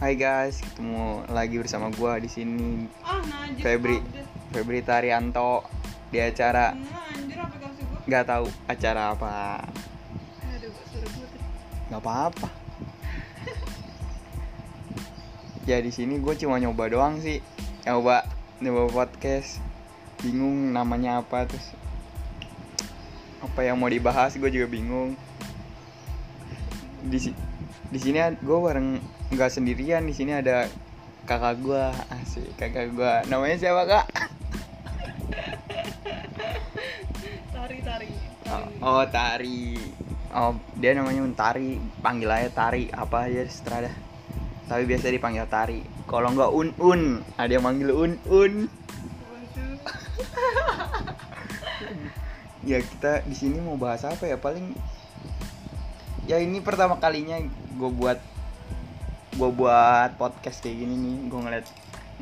Hai guys, ketemu lagi bersama gua di sini Ah, nah anjir. Febri Ya. update. Febri Tarianto di acara Nah, anjir aplikasi gua. nggak tahu acara apa. Aduh, suruh gua tuh. nggak apa-apa. ya di sini gue cuma nyoba doang sih. Nyoba nyoba podcast. Bingung namanya apa terus apa yang mau dibahas gue juga bingung. Di si- di sini gue bareng nggak sendirian di sini ada kakak gue asik kakak gue namanya siapa kak Tari, tari. tari. Oh, oh, Tari. Oh, dia namanya Untari. Panggil aja Tari apa aja terserah dah. Tapi biasa dipanggil Tari. Kalau nggak Un Un, ada yang manggil Un Un. Waduh. Ya kita di sini mau bahas apa ya? Paling ya ini pertama kalinya gue buat gue buat podcast kayak gini nih. Gue ngeliat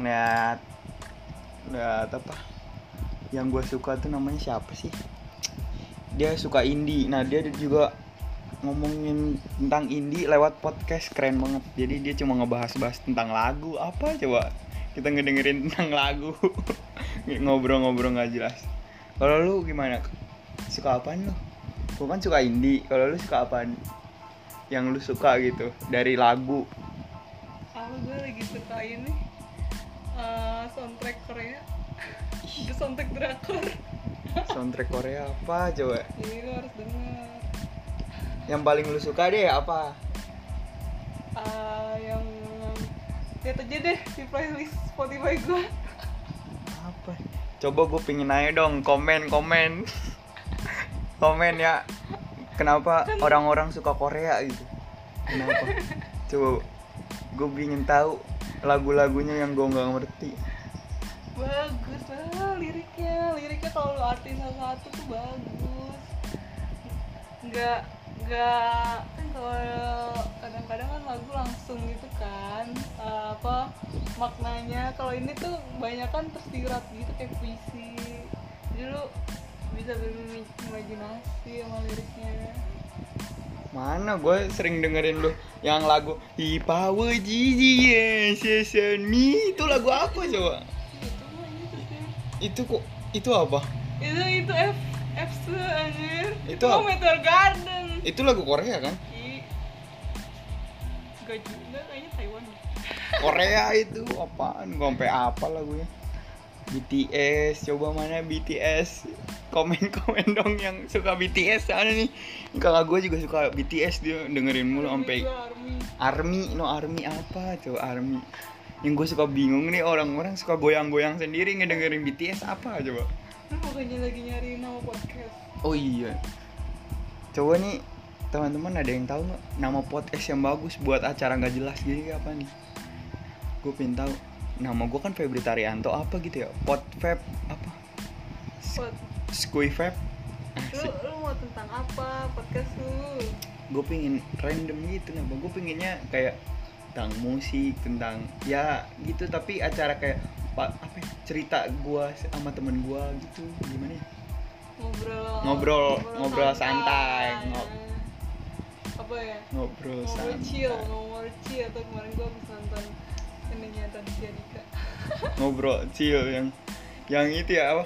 ngeliat ngeliat apa? Yang gue suka tuh namanya siapa sih? Dia suka indie. Nah dia juga ngomongin tentang indie lewat podcast keren banget. Jadi dia cuma ngebahas-bahas tentang lagu apa coba? Kita ngedengerin tentang lagu ngobrol-ngobrol nggak jelas. Kalau lu gimana? Suka apaan lu? Gue kan suka indie. Kalau lu suka apaan? Yang lu suka gitu dari lagu. Aku gue lagi suka ini eh, soundtrack Korea. Itu soundtrack drakor. Soundtrack Korea apa coba? Jadi lu harus denger. Yang paling lu suka deh apa? Ah, yang lihat aja deh di playlist Spotify gua. apa coba gue pingin aja dong komen komen komen ya kenapa orang-orang suka Korea gitu kenapa coba gue pingin tahu lagu-lagunya yang gue nggak ngerti Bagus lah liriknya. Liriknya kalau lu artiin satu-satu tuh bagus. Nggak nggak kan kalau kadang-kadang kan lagu langsung gitu kan eh, apa maknanya kalau ini tuh banyak kan tersirat gitu kayak puisi jadi lu bisa berimajinasi sama liriknya mana gue sering dengerin lu yang lagu Hipawa Jiji Sesame itu lagu apa coba itu mah ini tuh sih itu kok itu apa itu itu F F se anjir Itu itu, mah apa? Meteor Garden itu lagu Korea kan Ki Gaji enggak kayaknya Taiwan deh. Korea itu apaan? Gua sampai apa lagunya? BTS, coba mana BTS? Komen-komen dong yang suka BTS sana nih. Kakak gue juga suka BTS dia dengerin mulu sampai Gua Army. Army, no Army apa? Coba Army. Yang gue suka bingung nih orang-orang suka goyang-goyang sendiri ngedengerin BTS apa coba? Lu bukannya lagi nyari nama podcast Oh iya. Coba nih teman-teman ada yang tahu nggak nama podcast yang bagus buat acara nggak jelas gini kayak apa nih? Gue pengen tahu. Nama gue kan Febri Tarianto apa gitu ya? Podfeb apa? Pod Squifeb? Lu, lu mau tentang apa podcast lu? Gue pengen random gitu nama. Gue pengennya kayak tentang musik, tentang ya gitu. Tapi acara kayak pa- apa ya, cerita gue sama temen gue gitu gimana ya? Ngobrol Ngobrol- ngobrol santai. Ngob- Apa ya? Ngobrol Ngobrol santai. chill, ngobrol chill Atau kemarin gua habis nonton Ininya tadi Dika ngobrol chill yang yang itu ya apa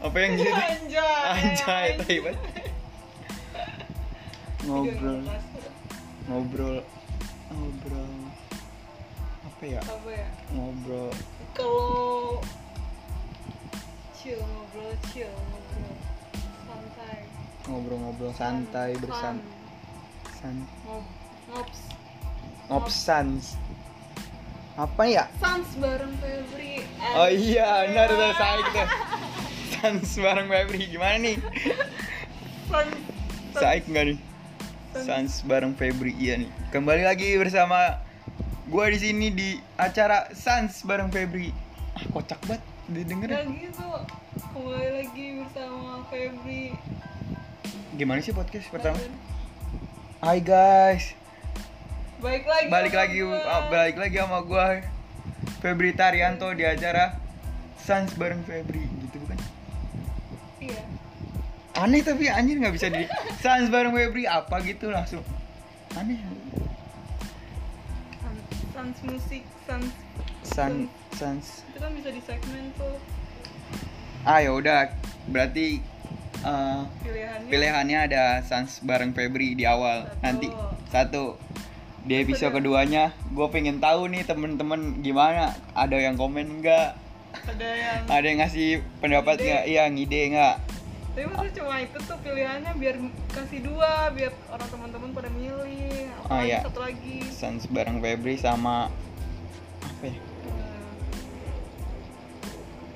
apa yang gitu Anjay anjay tai banget. ngobrol ngobrol ngobrol apa ya Apa ya? ngobrol kalau chill ngobrol chill ngobrol santai ngobrol-ngobrol santai Fun, bersan san fun. ngob ngops ngopsans apa ya sans bareng Febri and oh iya benar Sarah. udah saya kita sans bareng Febri gimana nih sans sans- Saik nggak nih? Sans bareng Febri iya nih. Kembali lagi bersama gua di sini di acara Sans bareng Febri. Ah, kocak banget Udah didengerin. gitu kembali lagi bersama Febri Gimana sih podcast pertama? Hai guys, balik lagi balik sama lagi gua. ah, balik lagi sama gua Febri Tarianto di acara Sans bareng Febri gitu bukan? iya Aneh tapi anjir nggak bisa di Sans bareng Febri apa gitu langsung. Aneh. sans, sans sans musik sans Sun Suns itu kan bisa di segmen tuh ah ya udah berarti eh, pilihannya pilihannya ada Suns bareng Febri di awal Satu. nanti satu di episode keduanya gue pengen tahu nih temen-temen gimana ada yang komen nggak ada yang ada yang ngasih pendapat Ide. nggak iya ngide nggak tapi maksudnya Ah. cuma itu tuh pilihannya biar kasih dua biar orang teman-teman pada milih apa Oh, lagi, iya. satu lagi Suns bareng Febri sama apa ya? Hmm.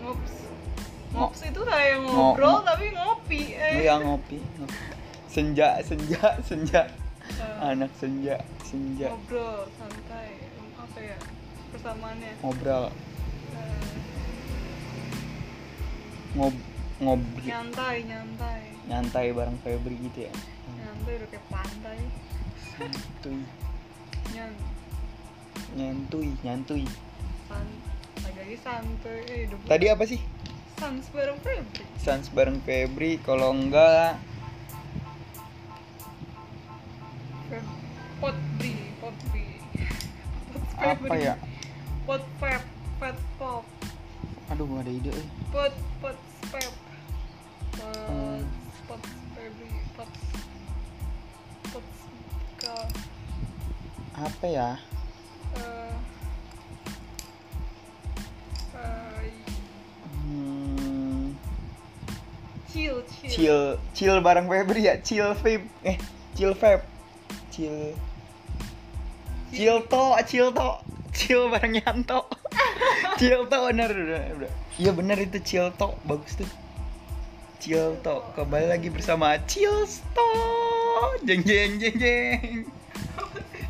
ngops Ngo- ngops itu kayak Ngo- ngobrol ngo- tapi ngopi eh Iya ngopi, ngopi. Senja, senja, senja. Eh, Anak senja, senja. ngobrol santai Em, apa ya persamaannya Ngobrol, Eh, ngob, ngobrol. nyantai nyantai Nyantai bareng Febri gitu ya. nyantai udah kayak pantai Santuy, nyan nyantui, nyantui. san lagi santai eh hidup gua. Tadi apa sih? sans bareng Febri Sans bareng Febri, kalau enggak Feb- potbri potbri Pot apa Febri. ya? pot pep pet pop Aduh, gak ada ide. eh. pot pot pep pot Hmm. pot Febri pot pot ke Apa ya? eh eh, Hmm, chill chill chill, chill bareng Febri ya. Chill Feb, eh, chill Feb, chill. Chill to, chill to, chill bareng Yanto. chill to bener bener, bener. Iya bener itu chill to, bagus tuh. Chill to, kembali lagi bersama chill to. Jeng jeng jeng jeng.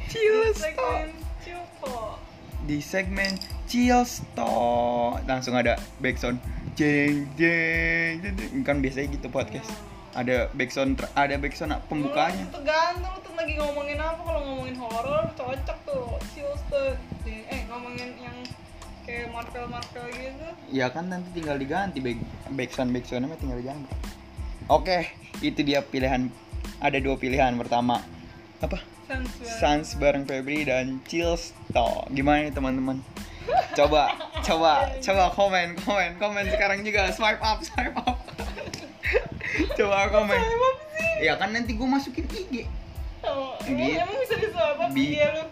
Chill to segmen chill po di segmen chill to. Langsung ada backsound. Jeng jeng jeng. jeng. Kan biasanya gitu podcast. Ada backsound, tr- ada backsound pembukaannya. Lu tergantung tuh lagi ngomongin apa kalau ngomongin horor cocok tuh chill tuh eh ngomongin yang kayak Marvel Marvel gitu Ya kan nanti tinggal diganti back backsound backsoundnya mah tinggal diganti. Oke, itu dia pilihan. Ada dua pilihan pertama apa? sensual Sans bareng Febri dan Chills to. Gimana nih teman-teman? Coba, coba, coba komen, komen, komen sekarang juga. Swipe up, swipe up. coba komen. emang sih Ya kan nanti gue masukin IG. Oh, Bi- emang, emang bisa disuap apa Bi- ya lu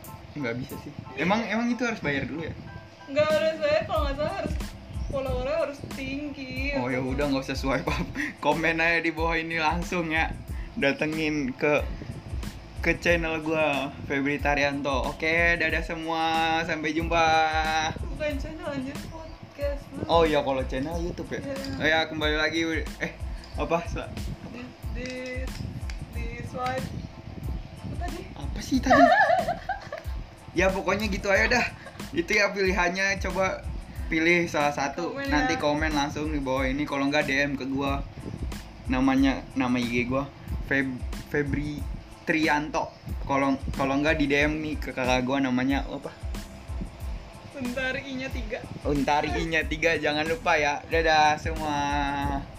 Nggak bisa sih. Emang emang itu harus bayar dulu ya? nggak harus saya kalau nggak salah harus followernya harus tinggi Oh ya udah nggak usah swipe up, komen aja di bawah ini langsung ya. Datengin ke ke channel gua Febri Taryanto. Oke, dadah semua, sampai jumpa. bukan channel lanjut podcast lu Oh iya kalau channel YouTube ya. Iya. Oh ya kembali lagi eh apa Sa- di di di slide apa tadi apa sih tadi? ya pokoknya gitu aja dah. Itu ya pilihannya coba pilih salah satu Komen nanti ya. komen langsung di bawah ini kalau nggak DM ke gua namanya nama IG gua Feb Febri Trianto kalau kalau nggak di DM nih ke kakak gua namanya apa bentar i nya tiga Untari I nya tiga jangan lupa ya dadah semua